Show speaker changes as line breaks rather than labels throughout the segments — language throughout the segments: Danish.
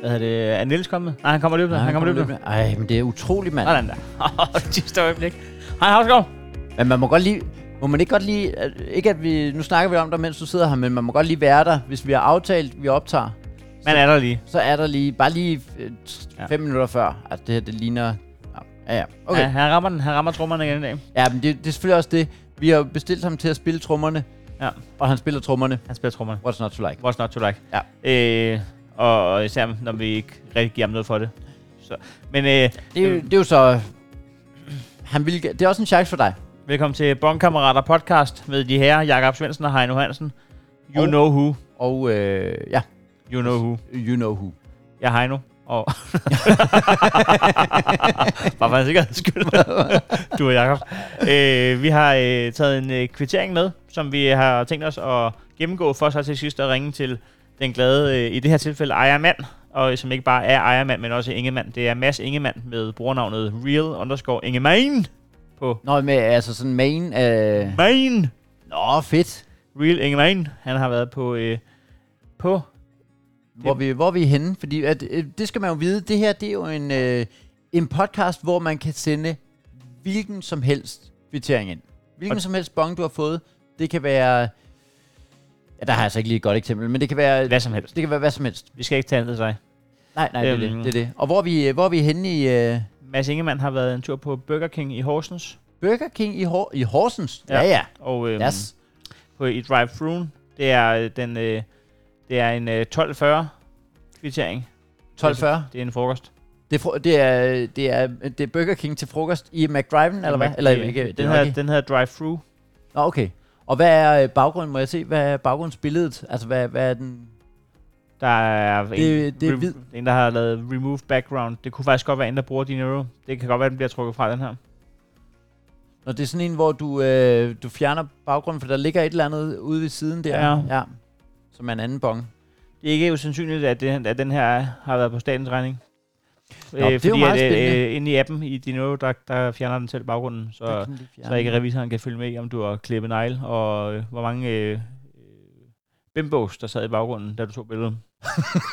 Hvad hedder det? Er Niels kommet? Nej, han kommer løbende.
Nej,
han kommer løbende.
løbende. Ej, men det er utroligt, mand.
Sådan der. Åh, sidste øjeblik. Hej, Havsgaard.
Men man må godt lige... Må man ikke godt lige... at- Ikke at vi... Nu snakker vi om dig, mens du sidder her, men man må godt lige være der. Hvis vi har aftalt, vi optager,
Man er der lige.
så er der lige... Bare lige øh,
Ja.
ja. fem minutter før, at det her, det ligner... Nå, Ja, ja.
Okay. Ja,
Okay.
han rammer den. Han rammer trommerne igen i dag.
Ja, men det, det er selvfølgelig også det. Vi har jo bestilt ham til at spille trommerne,
Ja,
og han spiller trommerne.
han spiller trommerne.
What's not to like?
What's not to like.
Ja.
Øh, og især når vi ikke rigtig giver ham noget for det. Så. Men øh,
Det, er jo- det er jo så... Han vil, det er også en chance for dig.
velkommen til Bondkammerater podcast med de herrer, Jakob Svendsen og Heino Hansen. You
Og-
know who.
Og øh, ja,
You know who.
you know who.
Jeg er Heino. Og Bare for en sikkerheds skyld. du og Jacob. Øh, vi har øh, taget en øh, kvittering med, som vi har tænkt os at gennemgå for så til sidst at ringe til den glade, øh, i det her tilfælde, ejermand. Og øh, som ikke bare er ejermand, men også Ingemann. Det er Mads Ingemann med brugernavnet Real underscore Ingemann på
Nå, men altså sådan main... Øh...
Main.
Nå, fedt.
Real Ingemann. Han har været på, øh, på
Hvor vi, hvor vi er henne, fordi at, øh, det skal man jo vide, det her det er jo en, øh, en podcast, hvor man kan sende hvilken som helst kvittering ind. Hvilken
Og-
som helst bong, du har fået. Det kan være... Ja, der har jeg altså ikke lige et godt eksempel, men det kan være...
hvad som helst.
Det kan være hvad som helst.
Vi skal ikke tage andet sig.
Nej, nej, det, er
Øhm.
det, det er det. Og hvor er vi, hvor er vi henne i øh,
Mads Ingemann har været en tur på Burger King i Horsens.
Burger King i, Hor- i Horsens?
Ja.
Ja, ja.
Og, øhm,
ja. Yes.
på i drive thru Det er øh, den øh, det er en øh, 1240 kvittering.
12.40.
Det er en frokost.
Det, er fro- det, er, det, er, det er Burger King til frokost i McDriven, eller hvad? Eller,
øh,
ikke,
den, her, den her drive thru
Nå, okay. Og hvad er øh, baggrunden, må jeg se? Hvad er baggrundsbilledet? Altså, hvad, hvad er den...
der er en,
Det- det er
rem-
hvid.
en, der har lavet remove background. Det kunne faktisk godt være en, der bruger Dinero. Det kan godt være, den bliver trukket fra den her.
Når det er sådan en, hvor du, øh, du fjerner baggrunden, for der ligger et eller andet ude ved siden der.
Ja.
ja. Som er en anden bong.
Det er ikke usandsynligt, at, det, at den her er- har været på statens regning. Nå,
det er jo meget
at,
spændende.
øh, inde i appen i Dinero, der, der fjerner den selv baggrunden. Så,
Der kan lige fjerne
Så ikke
den.
revisoren kan følge med, om du har klippet negl, og øh, hvor mange øh, øh, bimbos, der sad i baggrunden, da du tog billedet.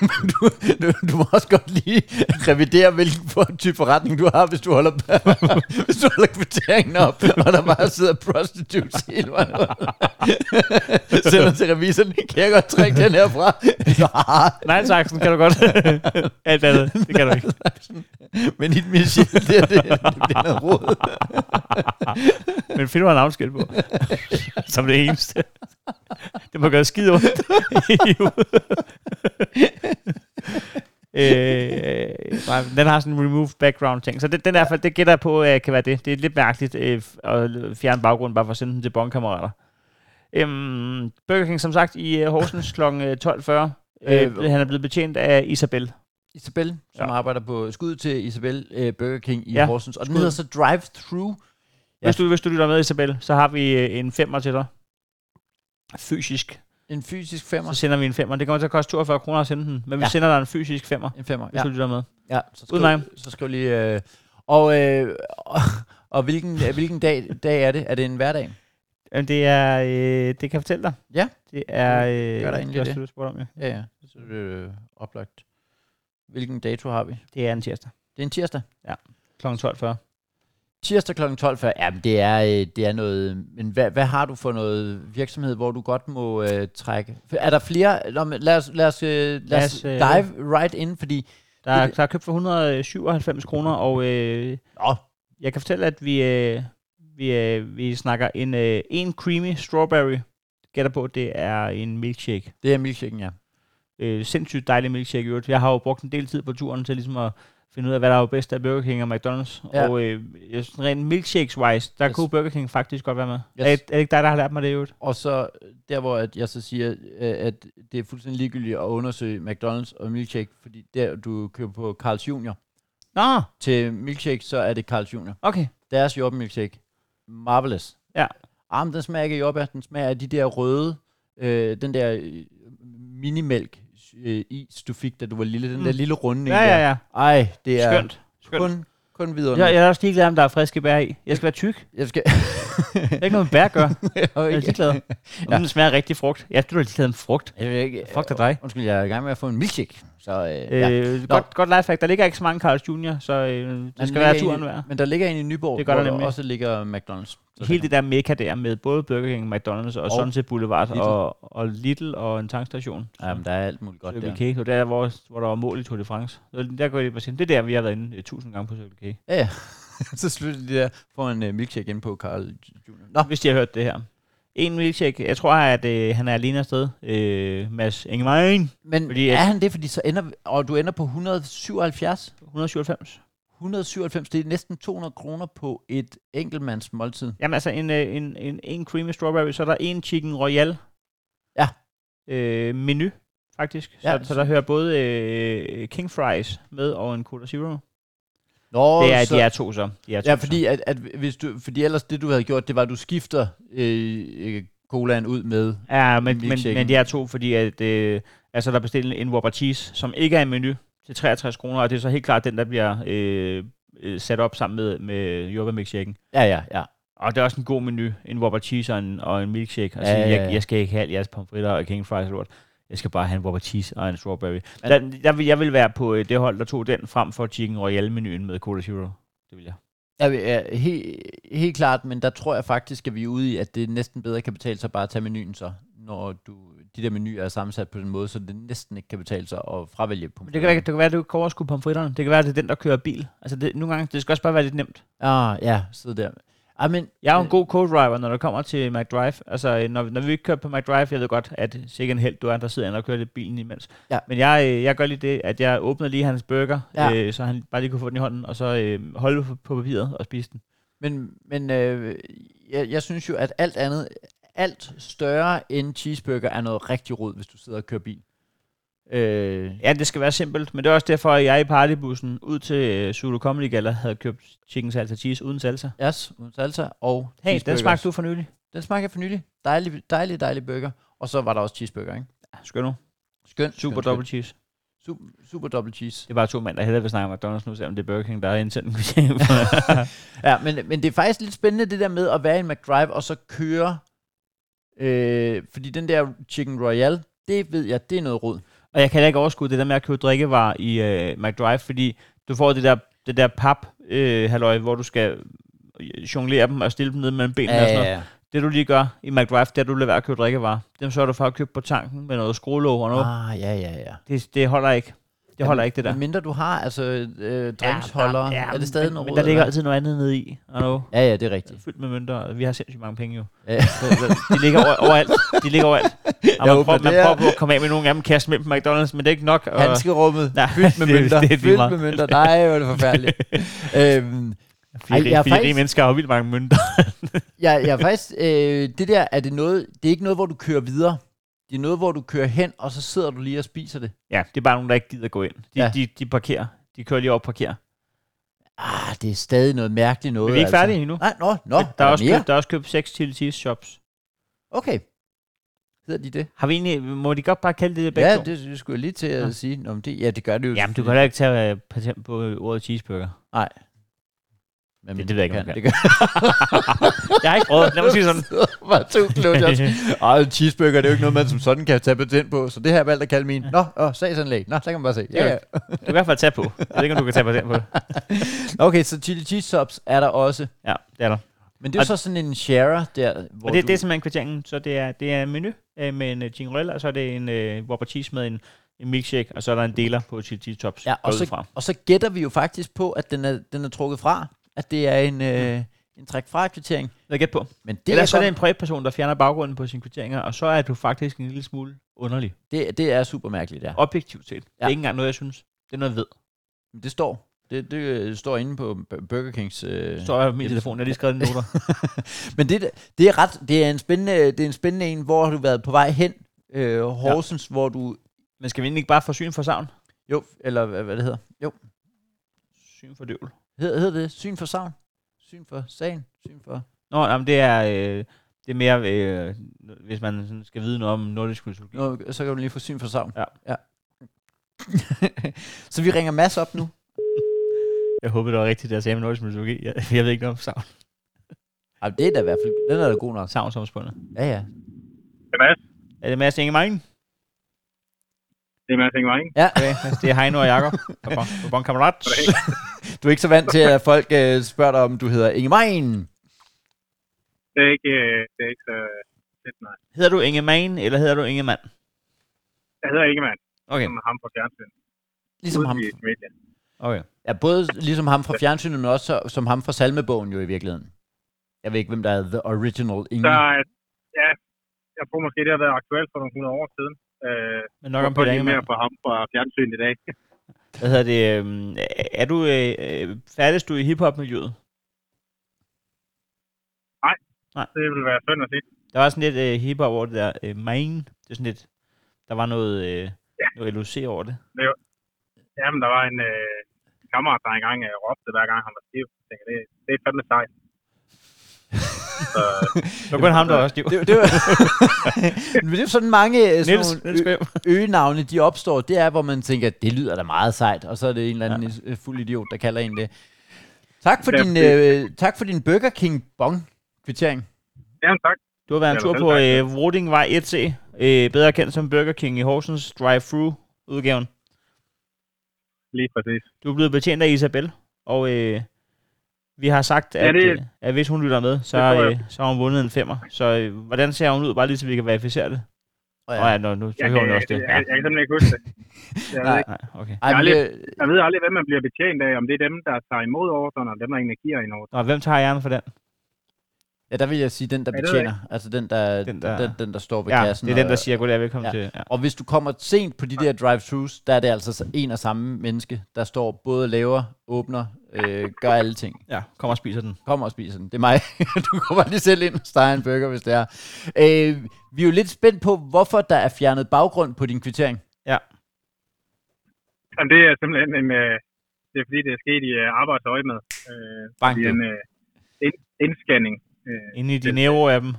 du, du, du må også godt lige revidere, hvilken for- type forretning du har, hvis du holder, hvis du holder kvitteringen op, og der bare sidder prostitutes hele vejen rundt. Sender til revisoren, kan jeg godt trække den her fra?
Nej, saksen kan du godt. Alt andet, det kan du ikke.
Men dit Michel, det, er det, det bliver noget råd.
Men find mig en navnskilt på. Som det eneste. Det må gøre skide ondt. i hovedet. øh, nej, den har sådan en remove background ting. Så det, den er, det gætter jeg på, øh, kan være det. Det er lidt mærkeligt øh, f- at fjerne baggrunden bare for at sende den til bondkammerater. Øhm, Burger King, som sagt, i øh, Horsens kl. 12.40. Øh,
Øh,
han er blevet betjent af Isabel.
Isabel, som
Ja.
ja. arbejder på skud til Isabel øh, Burger King i
Ja,
ja. Horsens. Og den
skud.
hedder så Drive Through.
Hvis, du, hvis du lytter med, Isabel, så har vi øh, en femmer til dig. Fysisk.
En fysisk
Så
femmer.
sender vi en femmer. Det kommer til at koste 42 kroner at sende den, men ja. vi
Ja.
sender dig en fysisk femmer,
En femmer,
hvis
ja.
ja. du lytter med.
ja så, skriv,
Udmærket.
så skriv lige... Øh, og, øh, og, og hvilken, øh, hvilken dag, dag er det? Er det en hverdag?
Jamen, det er, øh, det kan jeg fortælle dig.
Ja.
Det er, øh,
Gør der egentlig
det, er også
det?
det, du spurgte om, ja.
Ja, ja. Så er det øh, oplagt. Hvilken dato har vi?
det er en tirsdag
Det er en tirsdag.
kl. 12.40.
Tirsdag kl. 12.40. Ja, men det er, øh, det er noget... Men hvad, hvad har du for noget virksomhed, hvor du godt må øh, trække? Er der flere? Nå, men lad os, lad os, øh, lad os
øh,
dive right in, fordi...
Der er,
Det-
der er købt for 197 kroner, og øh,
Nå,
jeg kan fortælle, at vi, øh, vi, øh, vi snakker en, øh, en creamy strawberry. Gætter på, det er en milkshake.
det er milkshaken, ja.
øh, sindssygt dejlig milkshake i øvrigt. Jeg har jo brugt en del tid på turen til ligesom at finde ud af, hvad der er jo bedst af Burger King og McDonald's. Ja.
Ja.
Og øh, jeg synes, rent milkshakes-wise, der yes.
Yes.
kunne Burger King faktisk godt være med. Yes. Er,
Yes.
det- er det ikke dig, der har lært mig det i øvrigt?
Og så øh, der, hvor at jeg så siger, øh, at det er fuldstændig ligegyldigt at undersøge McDonald's og milkshake, fordi der du køber på Carl's Junior.
Nå,
Til milkshake, så er det Carl's Junior.
okay.
Deres jordbærmilkshake. Marvelous.
Ja.
Ah, men den smager ikke af jordbær, den smager af de der røde, øh, den der øh, minimælk øh, is, du fik, da du var lille. Den
Mm.
mm. der lille runde
Ja, ja, ja.
Der. Ej, det er
Skønt. Skønt.
kun, kun videre.
Jeg, jeg er også ligeglad, om der er friske bær i. Jeg skal være tyk. Det
jeg skal...
er ikke noget, bær gør.
jeg,
Jeg er ligeglad. Om ja. den smager rigtig frugt. Ja, du er ligeglad med frugt.
jeg, jeg,
Fuck dig dig.
Undskyld, jeg er i gang med at få en milkshake. Så, øh,
Øh,
øh, ja.
ja. godt, godt lifehack. Der ligger ikke så mange Carl's Jr., så øh, det skal
Men der
være
ligger
turen
en-
værd.
Men der ligger en i Nyborg,
Det
det
gør
gør
der
hvor der
nemlig.
også ligger McDonald's. Så
Hele
den-
det der mekka der med både Burger King, McDonald's og, og
Og
Sunset Boulevard
Lidl.
Little. Og, og Little og en tankstation.
Ja, men der er alt muligt godt
Circle
der.
K. Det var der, hvor, hvor der var mål i Tour de France. Så Der går de på scenen. Det er der, vi har været inde øh, tusind gange på Circle K.
Ja, ja. så slutter de der for en uh, milkshake ind på Carl Jr. Nå,
Hvis de har hørt det her. En milkshake. Jeg tror, at øh, han er alene afsted. Øh, Mads Ingemann.
men
Fordi
fordi,
at-
er han det, fordi så ender vi, og du ender på 177?
197.
197, det er næsten 200 kroner på et enkeltmands måltid.
Jamen altså, en, øh, en, en, en creamy strawberry, så er der en chicken royal.
Ja.
Øh, menu, faktisk. Ja,
Ja,
så, så der hører både øh, king fries med og en Cola Zero.
Nå,
det er,
så,
de er to så. De er to,
ja,
så.
fordi, at, at hvis du, fordi ellers det, du havde gjort, det var, at du skifter øh, øh, colaen ud med...
Ja, men, men,
milkshaken.
men de er to, fordi at, øh, altså, der er bestilt en Whopper Cheese, som ikke er en menu til 63 kroner, og det er så helt klart den, der bliver øh, øh, sat op sammen med, med jordbær milkshaken.
Ja, ja, ja.
Og det er også en god menu, en Whopper Cheese og en, og en milkshake. Altså,
Ja, ja,
Jeg,
ja.
jeg skal ikke have al jeres pomfritter og king fries og lort. Jeg skal bare have en Whopper Cheese og en strawberry. Der, der vil, jeg vil være på øh, det hold, der tog den frem for Chicken Royale-menuen med Cola Zero. Det vil jeg.
Ja, ja helt, helt klart, men der tror jeg faktisk, at vi er ude i, at det næsten bedre kan betale sig bare at tage menuen så, når du, de der menuer er sammensat på den måde, så det næsten ikke kan betale sig at fravælge på
Men det kan, være, det kan være, at du kan overskue pomfritterne. Det kan være, at det er den, der kører bil. Altså, det, nogle gange, det skal også bare være lidt nemt.
Ah, ja, sidde der. Ah, men,
Jeg er jo en god co-driver, når det kommer til McDrive. Altså, øh, når, når vi ikke kører på McDrive, jeg ved godt, at sikkert en held, du er, der sidder og kører lidt bilen imens.
Ja.
Men jeg, øh, jeg gør lige det, at jeg åbner lige hans burger, ja.
Ja.
øh, så han bare lige kunne få den i hånden, og så øh, holde på- på papiret og spise den.
men, men øh, jeg, jeg synes jo, at alt andet, alt større end cheeseburger er noget rigtig rod, hvis du sidder og kører bil. Øh,
Ja, det skal være simpelt, men det er også derfor, at jeg i partybussen ud til øh, Zulu Comedy Gala havde købt chicken salsa cheese uden salsa.
yes, uden salsa og
Hey, den
cheeseburgers.
smagte du for nylig.
Den smagte jeg for nylig. Dejlig, dejlig, dejlig burger. Og så var der også cheeseburger, ikke?
Skøn nu.
Skøn.
Super
skøn,
double cheese.
Super, super double cheese.
Det er bare to mænd, der hellere vil snakke om McDonald's nu, selvom det er Burger King, der har indsendt en
Ja, men, men det er faktisk lidt spændende det der med at være i en McDrive og så køre. Øh, fordi den der Chicken Royale, det ved jeg, det er noget rod.
Og jeg kan heller ikke overskue det der med at købe drikkevarer i øh, McDrive, fordi du får det der, det der pap øh, halløj, hvor du skal øh, jonglere dem og stille dem ned mellem benene ja, og sådan noget.
ja.
Det du lige gør i McDrive, det er, at du lader være at købe drikkevarer. Dem sørger du for at købe på tanken med noget skruelåg og noget. Ah.
Ah, ja, ja, ja.
Det, det holder ikke. Det holder ikke, det der.
Men mindre du har, altså øh, drinksholder, ja, ja, er det stadig
men,
noget
men
rod?
der ligger
eller
altid noget andet nede i. Og noget.
hvad? Ja, ja, det er rigtigt.
Fyldt med mønter. og Vi har sindssygt mange penge jo.
Ja.
De ligger over, overalt. De ligger overalt. Og
Jeg
man
håber,
prøver, man
det er-
prøver på at komme af med nogle af dem, kaste med på McDonald's, men det er ikke nok. Og,
Handskerummet,
Nej,
fyldt med
det er-
mønter,
det er lige
fyldt
meget.
med mønter. Nej, hvor er det forfærdeligt. øhm,
Fordi,
Ej,
Ej,
jeg
fordi
er
faktisk... de
faktisk-
mennesker har jo vildt mange mønter.
jeg, jeg er faktisk, øh, det der, er det noget, det er ikke noget, hvor du kører videre. Det er noget, hvor du kører hen, og så sidder du lige og spiser det.
Ja, det er bare nogen, der ikke gider gå ind. De, ja.
Ja.
de, de parkerer. De kører lige op og parkerer.
Ah, det er stadig noget mærkeligt noget.
Men vi er ikke
altså.
færdige endnu.
Nej, nå, nå.
der, er også
mere.
købt, der er også købt seks chili cheese shops.
Okay. Hedder de det?
Har vi egentlig, må de godt bare kalde det det begge
Ja,
to?
det, det skulle jeg lige til at
Ja.
ja. sige. Nå, men det, ja, det gør det jo.
Jamen, du kan da ikke tage øh, patent på øh, ordet cheeseburger.
Jamen,
det- det ved jeg ikke, om man
Det gør
Jeg har ikke prøvet. Lad mig sige sådan.
Bare to klods. Ej, en cheeseburger, det er jo ikke noget, man som sådan kan tage patent på, så det har jeg valgt at kalde min. Nå, åh, sagsanlæg. Nå, så kan man bare se. Ja, ja.
du kan i hvert fald tage på. Jeg ved ikke, om du kan tage patent på det.
Okay, så chili cheese subs er der også.
Ja, det er der.
Men det er jo
Og-
så sådan en sharer der, hvor
Og det,
du...
det er simpelthen kvitteringen. Så det er, det er en menu øh, med en øh, chingrella, og så er det en øh, Whopper cheese med en, en milkshake, og så er der en deler på chili cheese tops.
Ja, og
går jeg ud
så,
fra.
og så gætter vi jo faktisk på, at den er, den er trukket fra. At det er en, øh, en træk fra kvittering.
Lad gæt på.
Men det,
Det Ellers er
er
det
godt,
en privatperson, der fjerner baggrunden på sine kvitteringer, og så er du faktisk en lille smule underlig.
det, det er super mærkeligt, ja.
Objektivt set. Ja. Det er
Ja.
ikke engang noget, jeg synes. Det er noget, jeg ved.
Men Det står. Det, det øh, står inde på B- Burger Kings... Øh.
Det står jeg på min telefon. Jeg har lige skrevet en noter.
Men det, det er ret... Det er, en spændende, det er en spændende en, hvor har du været på vej hen. Øh, Horsens, ja. hvor du...
Men skal vi egentlig ikke bare få syn for savn?
Jo, eller hvad, hvad det hedder. Jo,
Syn for døvel.
hedder, hedder det syn for savn? Syn for sagen? Syn for...
Nå, nej, men det er, øh, det er mere, øh, hvis man sådan skal vide noget om nordisk mytologi.
Nå, så kan du lige få syn for savn.
Ja.
ja. så vi ringer Mads op nu.
Jeg håber, det var rigtigt, det jeg sagde med nordisk mytologi. Jeg, jeg ved ikke noget om savn.
Ej, det er da i hvert fald... Den er da god nok.
Savn som spundet.
Ja, ja.
Det er Mads.
Er det Mads Ingemann?
Det er Mads Ingemann, ikke?
Ja.
Okay, altså, det er Heino og Jakob. Og bon, og bon kammerat.
Du er ikke så vant til, at folk øh, spørger dig, om du hedder Ingemann.
Det er ikke, øh, det er ikke så fedt, nej.
Hedder du Ingemann, eller hedder du Ingemann?
Jeg hedder Ingemann,
Okay,
som ham på fjernsyn.
Ligesom ham.
Ude i familien.
Mm. okay.
Ja, både ligesom ham fra fjernsynet, men også så- som ham fra salmebogen jo i virkeligheden. Jeg ved ikke, hvem der er the original
Så
Ingemann.
øh, ja, jeg tror måske, det har været aktuelt for nogle 100 år siden. Øh,
Men nok om
på
Peter
lige
Ingemann.
mere på ham fra fjernsyn i dag.
Hvad hedder det? øhm, Er du øh, øh, færdes du i hiphop-miljøet?
Det ville være synd at sige.
Der var sådan lidt øh, hiphop over det der øh, main. Det er sådan lidt, der var noget, øh, noget LOC over det.
Jamen, der var en øh, kammerat, der engang øh, råbte, hver gang han var stiv. Jeg tænker, det, det er fandme sejt. Så, øh,
Det var kun ham, der var stiv.
Det, det var... Men det er sådan mange øh, sådan
Niels,
nogle
Niels
ø-
Bøhm.
øgenavne, de opstår. Det er, hvor man tænker, det lyder da meget sejt. Og så er det en eller anden ja. fuld idiot, der kalder en det. Tak for,
Ja,
din,
det-
øh, tak for din Burger King bong kvittering.
jamen, tak.
Du har været en
Ja,
tur
selv
på
tak,
øh, Vrodingvej 1C, øh, bedre kendt som Burger King i Horsens drive thru udgaven
Lige præcis.
Du er blevet betjent af Isabel, og øh, vi har sagt, at,
Ja, det-
øh, at hvis hun lytter med, så,
Det tror jeg.
øh, så har hun vundet en femmer. Så øh, hvordan ser hun ud, bare lige så vi kan verificere det?
Og
Åh ja, nå, nu så
Jeg,
hører
kan,
hun
jeg,
også det.
jeg,
Ja.
jeg, kan simpelthen ikke huske det. Jeg ved,
Nej.
ikke,
Nej, okay.
Ej,
Jeg er
men,
lidt-
øh,
jeg ved aldrig, hvem man bliver betjent af, om det er dem, der tager imod ordren, og dem, der egentlig giver en ordre.
Nå, hvem tager æren for den?
ja, der vil jeg sige, den der
Ja, det ved jeg
betjener. Altså den der,
Den,
den,
der-
der... Den, den, der står ved
Ja,
kassen.
det er den, der
og,
siger goddag, velkommen til. Ja.
Og hvis du kommer sent på de der drive-thrus, der er det altså en og samme menneske, der står både og laver, åbner, øh, gør alle ting.
ja, kom og spiser den.
Kom og spis den. Det er mig. du kommer lige selv ind og steger en burger, hvis det er. Øh, vi er jo lidt spændt på, hvorfor der er fjernet baggrund på din kvittering.
Ja.
Jamen, det er simpelthen en... Øh, det er fordi, det er sket i øh, arbejdsøje med. Øh,
Bang,
i
du.
en øh, ind, indscanning. Øh,
Inde i din euro af dem.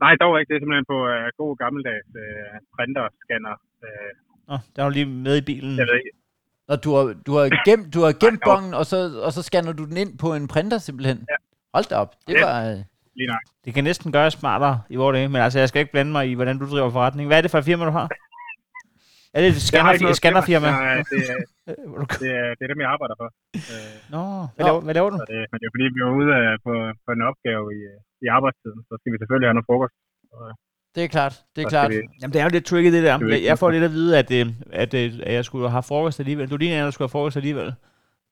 nej, dog ikke. Det er simpelthen på øh, god gammeldags øh, printer, scanner. Øh,
Nå, der er hun lige med i bilen.
jeg ved ikke.
Når du har, du har gemt, du har gemt
Ej, jo.
bongen, og så, og så scanner du den ind på en printer simpelthen. Ja. Hold da op. Det
Ja.
var... øh,
Lige nok.
Det kan næsten gøres smartere i vores dage, men altså, jeg skal ikke blande mig i, hvordan du driver forretning. Hvad er det for et firma, du har? Er det et
Jeg har ikke
scanner,
noget
scannerfirma?
firma. Nej, det, er-
Øh, hvor du-
det, er, det er dem, jeg arbejder for. Øh,
Nå, hvad laver, hvad laver du?
så det, men det er fordi, vi var ude øh, på, på en opgave i, øh, i arbejdstiden, så skal vi selvfølgelig have noget frokost.
Det er klart. Det er
Så
klart.
skal vi-
Jamen, det er jo lidt tricky, det der.
Det er jo ikke
Jeg får lidt at vide, at, øh, at, øh, at jeg skulle have frokost alligevel. Du ligner en, der skulle have frokost alligevel.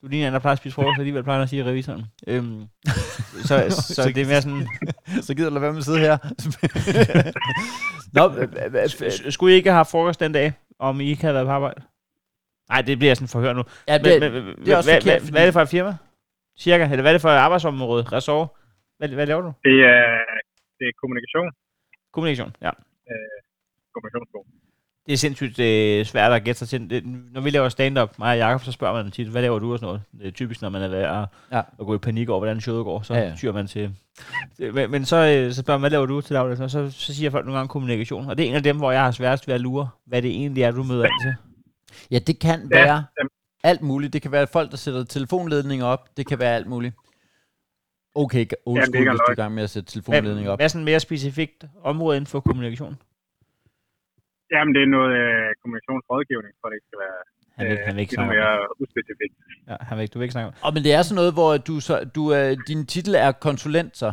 Du ligner en, der plejer at spise frokost alligevel, plejer han at sige revisoren. Øhm, så, så, så det er mere sådan,
Så gider du lade være med at sidde her. Nå, øh, øh, øh, øh,
s- skulle I ikke have haft frokost den dag, om I ikke havde været på arbejde? Nej, det bliver sådan forhør nu.
ja,
Men,
det,
men, men,
det er også
hvad,
forkert,
hvad,
fordi-
hvad er det for et firma? Cirka? Eller hvad er det for et arbejdsområde? Ressort? Hvad, hvad laver du?
Det er, det er kommunikation.
Kommunikation, ja.
Kommunikationsskole.
Det er sindssygt øh, svært at gætte sig til. Det, når vi laver stand-up, mig og Jacob, så spørger man tit, hvad laver du og sådan noget? Det er typisk, når man er ved at,
Ja.
ja. at gå i panik over, hvordan showet går, så ja,
Ja,
ja.
ja.
tyrer man til... Det- Men, men så, øh, så spørger man, hvad laver du til daglig? Og så, så siger folk nogle gange kommunikation. Og det er en af dem, hvor jeg har sværest ved at lure, hvad det egentlig er, du møder ind til.
Ja, det kan
Ja,
være
jamen.
alt muligt. Det kan være folk, der sætter telefonledninger op. Det kan være alt muligt. Okay, g- old
Jamen, det er
school,
ikke
hvis du er i
løgn.
gang med at sætte telefonledninger
Hvad,
op.
hvad er sådan mere specifikt område inden for kommunikation?
Jamen, det er noget øh, kommunikationsrådgivning, for det ikke skal være
Han vil, han vil ikke
endnu
snakke om
Øh, mere uspecifikt.
det. Ja, han vil, ikke- du vil ikke snakke om det.
Og men det er sådan noget, hvor du, så, du øh, din titel er konsulent, så.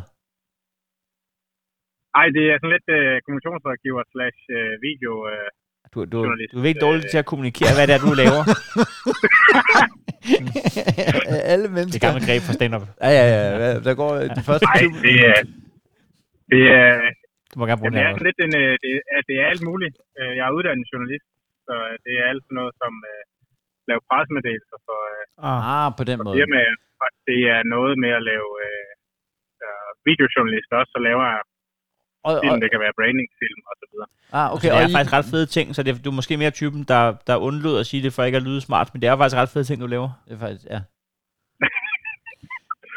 Ej, det er sådan lidt øh, kommunikationsrådgiver slash øh, video. Øh,
Du, du,
Journalist.
du er virkelig
Øh,
dårlig til at kommunikere, hvad det er, du laver.
Alle
det er
mennesker.
gammelt greb for stand-up.
Ja, ja, ja. Hvad- Der går øh, de første
ej,
20
det er... Det er,
Du må gerne bruge
jamen,
den
det er
her.
sådan lidt en, øh, det, er, det er alt muligt. Øh, Jeg er uddannet journalist, så øh, det er alt sådan noget som øh, lave pressemeddelelser for øh,
Ah.
Ah, på den måde.
firmaer. Og Det er noget med at lave øh, øh, videojournalist også, så laver jeg
Og, og,
film, det kan være brandingfilm og så videre.
ah,
Okay,
okay,
så Altså, det er
og
faktisk
I,
ret fede ting, så det er, du er måske mere typen, der, der undlod at sige det for ikke at lyde smart, men det er faktisk ret fede ting, du laver.
det er faktisk, ja.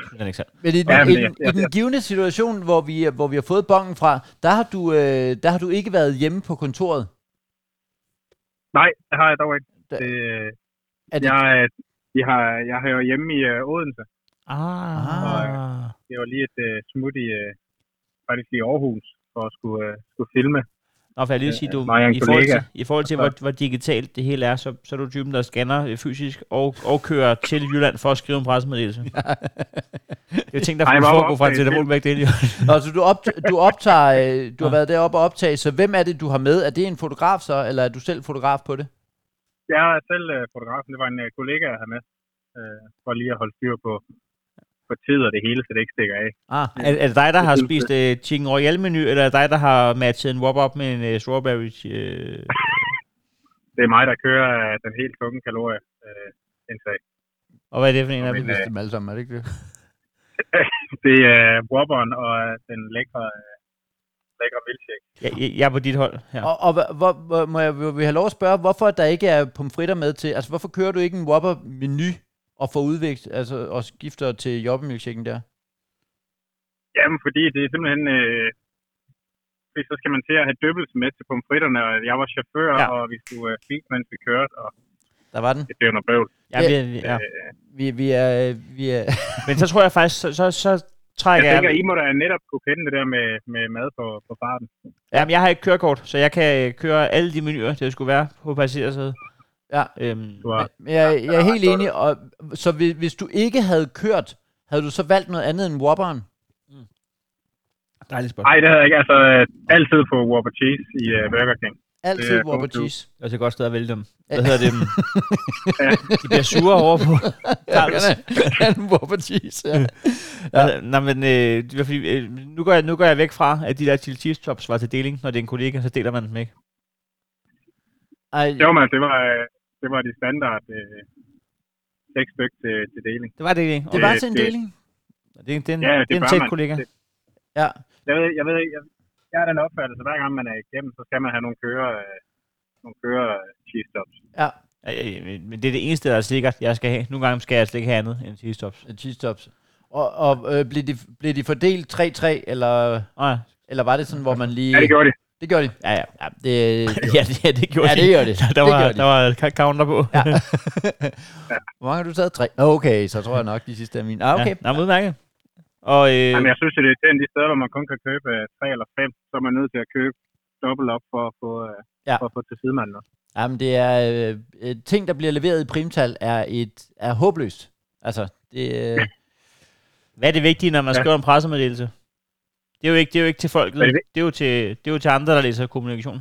Synes jeg ikke selv.
Men i den,
Ja, men
i,
jeg-
den, i
jeg-
den givende situation, hvor vi, hvor vi har fået bongen fra, der har, du, øh, der har du ikke været hjemme på kontoret.
Nej, det har jeg dog ikke.
Da-
Det, øh,
Er det,
jeg, øh, vi har, jeg har jo hjemme i øh, Odense.
Ah.
Det var lige et øh, smut i, øh, faktisk i Aarhus, for at skulle, øh, skulle filme
Nå, for jeg lige sige, du,
Nå, jeg er en
i, forhold
kollega.
til, i forhold til, hvor, hvor digitalt det hele er, så, så er du typen, der scanner øh, fysisk og, og kører til Jylland for at skrive en pressemeddelelse. Jeg tænkte, der
Ej,
kunne
hvor
foregå fra en
opdaget det.
telefonvægt ind.
Og så du, opt- du optager, øh, du har været deroppe og optage, så hvem er det, du har med? Er det en fotograf så, eller er du selv fotograf på det?
Jeg er selv øh, fotografen. Det var en øh, kollega, jeg havde med. Øh, for lige at holde styr på, på tid og det hele, så det ikke stikker af.
Ah,
Er, er det dig, der har
synes
spist øh, Chicken Royale-menu, eller er det dig, der har matchet en whopper op med en øh, strawberry? Øh,
Det er mig, der kører øh, den helt tunge kalorie øh, indsag.
og hvad er det for en af dem?
men, øh,
dem alle sammen, er det ikke det?
Det er øh, Whopperen og øh, den lækre, øh, lækre milkshake.
Jeg, jeg, jeg er på dit hold. Ja.
Og, og hvor, hvor, hvor, må jeg vil vi have lov at spørge, hvorfor der ikke er pomfritter med til? Altså, hvorfor kører du ikke en Whopper-menu og får udviklet, altså, og skifter til jobbemilkshaken der?
Jamen, fordi det er simpelthen... Øh, fordi så skal man til at have døbelse med til pomfritterne, og jeg var chauffør,
Ja.
ja. og vi skulle øh, spise, mens vi kørte, og
Der var den.
det blev noget bøvl.
Jeg, bliver, ja.
Vi, vi er, øh, vi er
Men så tror jeg faktisk, så, så, så
Jeg
trækker jeg...
tænker, I må da netop kunne kende det der med, med mad på, på farten.
Jamen, jeg har ikke kørekort, så jeg kan øh, køre alle de menuer, det skulle være på passagersædet.
Ja.
Øhm,
Du har,
Men Jeg, jeg er helt enig. Og, så hvis, hvis du ikke havde kørt, havde du så valgt noget andet end Whopperen?
dejligt spørgsmål.
Nej, det havde jeg ikke. Altså, øh, altid på Whopper Cheese i uh, Burger King.
Altid
Det
ja,
er
Whopper
godt, du.
Cheese.
Det er også et godt sted at vælge dem. Hvad hedder det? Mm. de bliver sure over på Carlos.
en Whopper Cheese, ja.
Ja. Nej, men øh, det var fordi, øh, nu, går jeg, nu går jeg væk fra, at de der chili cheese tops var til deling, når det er en kollega, så deler man dem ikke.
Ej,
Jo, men det var, øh, det var de standard øh, seks stykker til, til deling.
Det var det ikke.
det
Det,
var
det-
til en
det-
deling.
det, det, er en,
Ja,
ja,
det
det, det er en
bør
tæt
man.
kollega.
Det-
Ja.
Jeg ved, jeg ved ikke, jeg, jeg er den opfattelse, at hver gang man er igennem, så skal man have nogle køre, øh, nogle køre øh, cheese stops.
ja.
Øh, øh, Men det er det eneste, der er sikkert, jeg skal have. Nogle gange skal jeg altså ikke have andet end cheese tops.
Cheese tops. Og, og øh, blev, de, blev de fordelt 3-3, eller,
Nå ja.
eller var det sådan, hvor man lige...
Ja, det gjorde de.
det gjorde de.
Ja, ja.
Ja, det,
Ja, det, ja, det gjorde
Ja,
de.
det gjorde de.
Der
Det
var,
gjorde de.
der var ka- counter på. Ja,
Hvor mange har du taget? Tre? Okay, så tror jeg nok, de sidste er mine. Ah, okay.
Ja, Nå, men udmærket. Og øh,
Jamen, jeg synes, at det er irriterende de steder, hvor man kun kan købe øh, tre eller fem, så er man nødt til at købe dobbelt op for at få, øh,
Ja.
ja. for at få til sidemanden. også.
Jamen, det er... Øh, øh, ting, der bliver leveret i primtal, er, et, er håbløst. Altså, det... Øh,
hvad er det vigtige, når man
Ja.
skriver en pressemeddelelse? Det er jo ikke, det er jo ikke til folket.
Hvad er det
Det er, jo til, det er jo til andre, der læser kommunikation.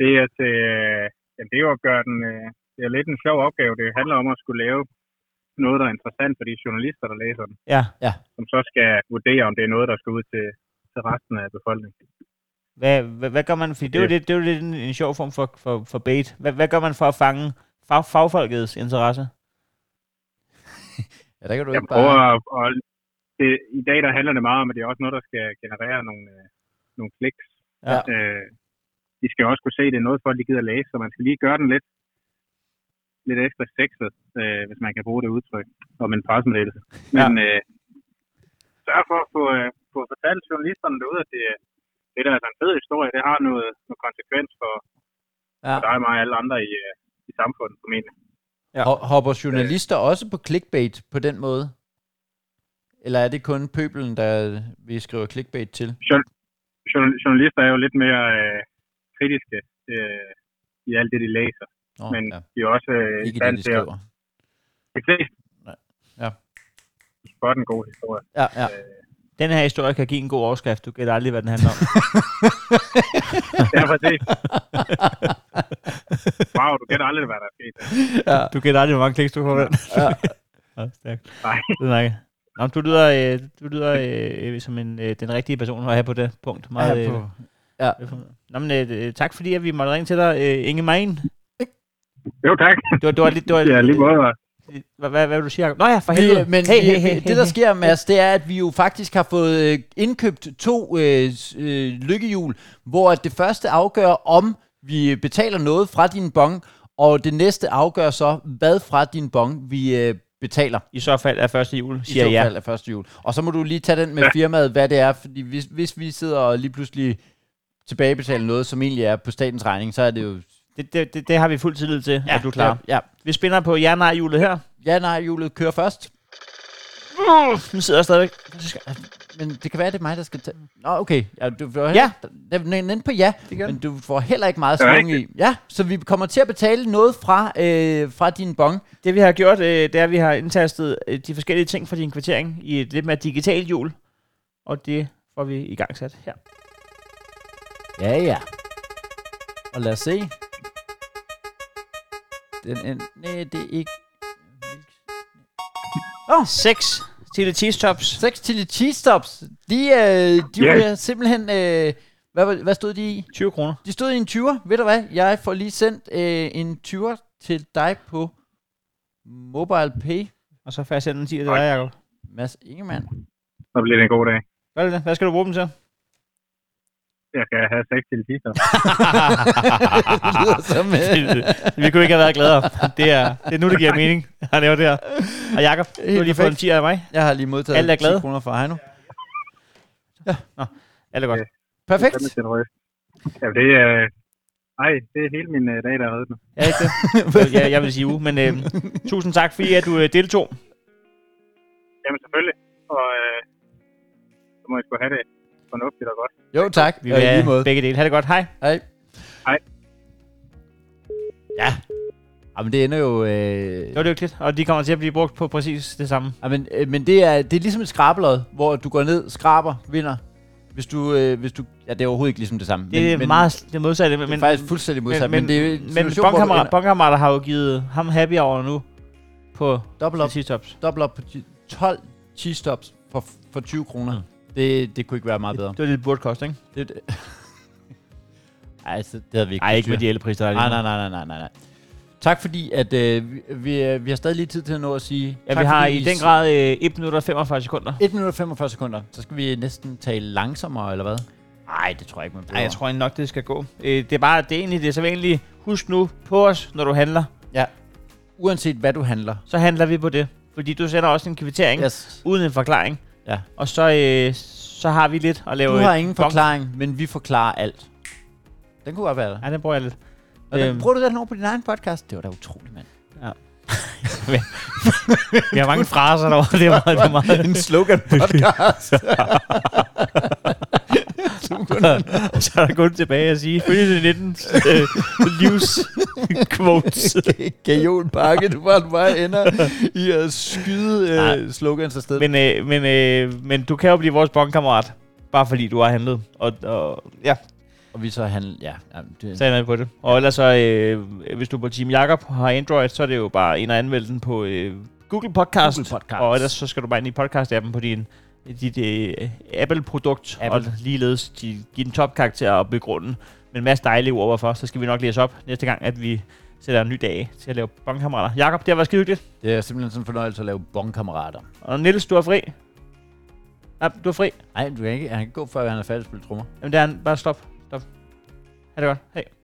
Det er til, øh, jamen, det er jo at gøre den, øh, det er lidt en sjov opgave. Det handler om at skulle lave noget, der er interessant for de journalister, der læser den,
Ja.
som så skal vurdere, om det er noget, der skal ud til, til resten af befolkningen.
Hvad, hvad, hvad gør man? Fordi det er jo
Ja.
lidt, det er jo lidt en, en sjov form for, for, for bait. Hvad, hvad gør man for at fange fag, fagfolkets interesse?
ja, der kan du
Jeg
ikke
prøver
bare...
at, og det, I dag der handler det meget om, at det er også noget, der skal generere nogle, øh, nogle kliks.
Ja.
Øh, de skal også kunne se, at det er noget, folk de gider læse, så man skal lige gøre den lidt, lidt ekstra sexet, øh, hvis man kan bruge det udtryk om en pressemeddelelse. Men øh, sørg for at få, øh, få fortalt journalisterne derude, at det, øh, det der er altså en fed historie, det har noget, noget konsekvens for,
Ja.
for dig og mig og alle andre i, øh, i samfundet, formentlig.
Ja.
Ho- Hopper journalister
Øh.
også på clickbait på den måde? Eller er det kun pøbelen, der vi skriver clickbait til?
Jour- journal- journalister er jo lidt mere øh, kritiske øh, i alt det, de læser.
Nå,
Men
ja.
de er også øh, i
Ikke
stand
det, de
til at
skriver.
de fleste
Nej. Ja.
spotte en god historie.
Ja, ja.
Den her historie kan give en god overskrift. Du gætter aldrig, hvad den handler om.
Ja, præcis. wow, du gætter aldrig, hvad der er sket.
Du gætter aldrig, hvor mange kliks du får. Ja. ja stærkt.
Nej.
Nej. Nå, men du lyder, øh, du lyder øh, øh, som en, øh, den rigtige person at have på det punkt. Meget,
Ja,
øh,
på- ja.
velkommen. Nå, men, øh, tak fordi at vi måtte ringe til dig, øh, Inge Main.
Jo, tak.
Det var, det var lidt... Det var,
Ja, lige måde.
Hvad, hvad, hvad vil du sige, Jacob? Nå ja, for helvede.
Vi, men hey, hey, hey, det, der sker, Mads, det er, at vi jo faktisk har fået øh, indkøbt to øh, s- øh, lykkehjul, hvor at det første afgør, om vi betaler noget fra din bong, og det næste afgør så, hvad fra din bong vi øh, betaler.
I så fald er første jul,
I
siger
så
jeg.
fald af første jul. Og så må du lige tage den med firmaet, hvad det er, fordi hvis, hvis vi sidder og lige pludselig tilbagebetaler noget, som egentlig er på statens regning, så er det jo...
Det, det, det, det har vi fuld tillid til, ja, at du er klar. Ja.
Ja,
Vi spænder på ja nej hjulet her.
ja nej, julet kører først.
Den sidder stadigvæk.
men det kan være, det er mig, der skal tage... Nå, okay. Ja, du får
Ja.
heller... ja. Den på ja,
Det gør
men du får heller ikke meget
Det er
svung i. Ja, så vi kommer til at betale noget fra, øh, fra din bong.
Det vi har gjort, øh, det er, at vi har indtastet øh, de forskellige ting fra din kvittering i et lidt mere digitalt hjul. Og det får vi i gang sat her.
Ja, ja. Og lad os se. Den er... Nej, det er ikke...
6 til det cheese tops.
6 til de cheese stops. De, øh, de
Ja.
yeah. simpelthen... Øh, hvad, var- hvad stod de i?
20 kroner.
De stod i en 20'er. Ved du hvad? Jeg får lige sendt øh, en 20'er til dig på MobilePay.
Og så får jeg sendt en 10 til dig, Jacob.
Mads Ingemann.
Så bliver det en god dag.
Hvad, er det? Hvad skal du bruge dem til?
Jeg skal have sex til tister.
det lyder som... Øh,
vi kunne ikke have været gladere. Det er, det er nu, det giver mening. Han laver det her. Og Jacob, du har lige fået en 10 af mig.
jeg har lige modtaget
Alle er glade.
10 kroner fra Heino.
Alt er godt.
Perfekt.
Ja, det er... Ej, det er hele min øh, dag, der er reddet nu.
Ja, ikke det? Jeg, jeg vil sige uge, men øh, tusind tak, fordi at du øh, deltog.
Jamen selvfølgelig. Og øh, så må jeg sgu have det fornuftigt og godt.
Jo, tak.
Vi
Og
vil
i lige
have
måde.
begge dele. Ha' det godt. Hej.
Hej.
Hej.
Ja. Jamen, det ender jo... Øh,
Det var lykkeligt, og de kommer til at blive brugt på præcis det samme.
Jamen, øh, men det er, det er ligesom et skrabelod, hvor du går ned, skraber, vinder. Hvis du, øh, hvis du... Ja, det er overhovedet ikke ligesom det samme.
Det er
men,
men, meget det modsatte. Men,
Men, det er faktisk fuldstændig modsat, men, men, det er en
men
situation, hvor du
bondkammerater,
ender
bondkammerater har jo givet ham happy over nu på
dobbelt op,
T-tops.
dobbelt op på ti- 12 cheese stops for, for 20 kroner. Det, det kunne ikke være meget bedre.
Det var det, det burde koste, ikke?
Det, det. Ej, altså, det havde vi ikke.
Nej,
på
ikke med
styr.
de elpriser.
Nej, nej, nej, nej, nej, nej, nej. Tak fordi, at øh, vi- vi, vi har stadig lige tid til at nå at sige...
Ja,
tak
vi har
fordi
i den grad øh, 1 minut og 45 sekunder.
1 minut og 45 sekunder. Så skal vi næsten tale langsommere, eller hvad? Nej, det tror jeg ikke, man behøver.
Nej, jeg tror nok, det skal gå. Øh, det er bare, det er egentlig det, så egentlig husk nu på os, når du handler.
Ja. Uanset hvad du handler.
Så handler vi på det. Fordi du sender også en kvittering yes.
Yes.
uden en forklaring.
Ja.
Og så, øh, så har vi lidt at lave...
Du
et
har ingen
bong.
forklaring, men vi forklarer alt. Den kunne godt være der.
Ja, den bruger jeg lidt.
Og den,
Øhm.
bruger du den over på din egen podcast? Det var da utroligt, mand.
Vi har mange fraser derovre. Det er meget, det er meget.
en slogan podcast.
så er der kun tilbage at sige, følge 19 øh, livs quotes.
Gajolpakke, du bare, du bare ender i at skyde
Nej.
øh, slogans afsted.
Men, øh, men, øh, men du kan jo blive vores bondkammerat, bare fordi du har handlet. Og, og ja,
og vi så handler, ja. jamen, Det,
så er jeg med på det. Og ellers så, øh, hvis du er på Team Jakob og har Android, så er det jo bare ind og anmelde den på øh, Google Podcast.
Google Podcast.
Og ellers så skal du bare ind i podcast-appen på din dit øh, Apple-produkt,
Apple.
og ligeledes de, give den topkarakter og begrunde med en masse dejlige ord hvorfor. Så skal vi nok læse op næste gang, at vi sætter en ny dag af til at lave bongkammerater. Jakob, det har været skide hyggeligt.
det er simpelthen sådan en fornøjelse at lave bongkammerater.
Og Niels, du er fri. Ja, du er fri.
Nej, du kan ikke, han kan ikke gå, før han er færdig at spille trommer.
Jamen, det er han. Bare stop. Stop. Ha' det godt. Hej.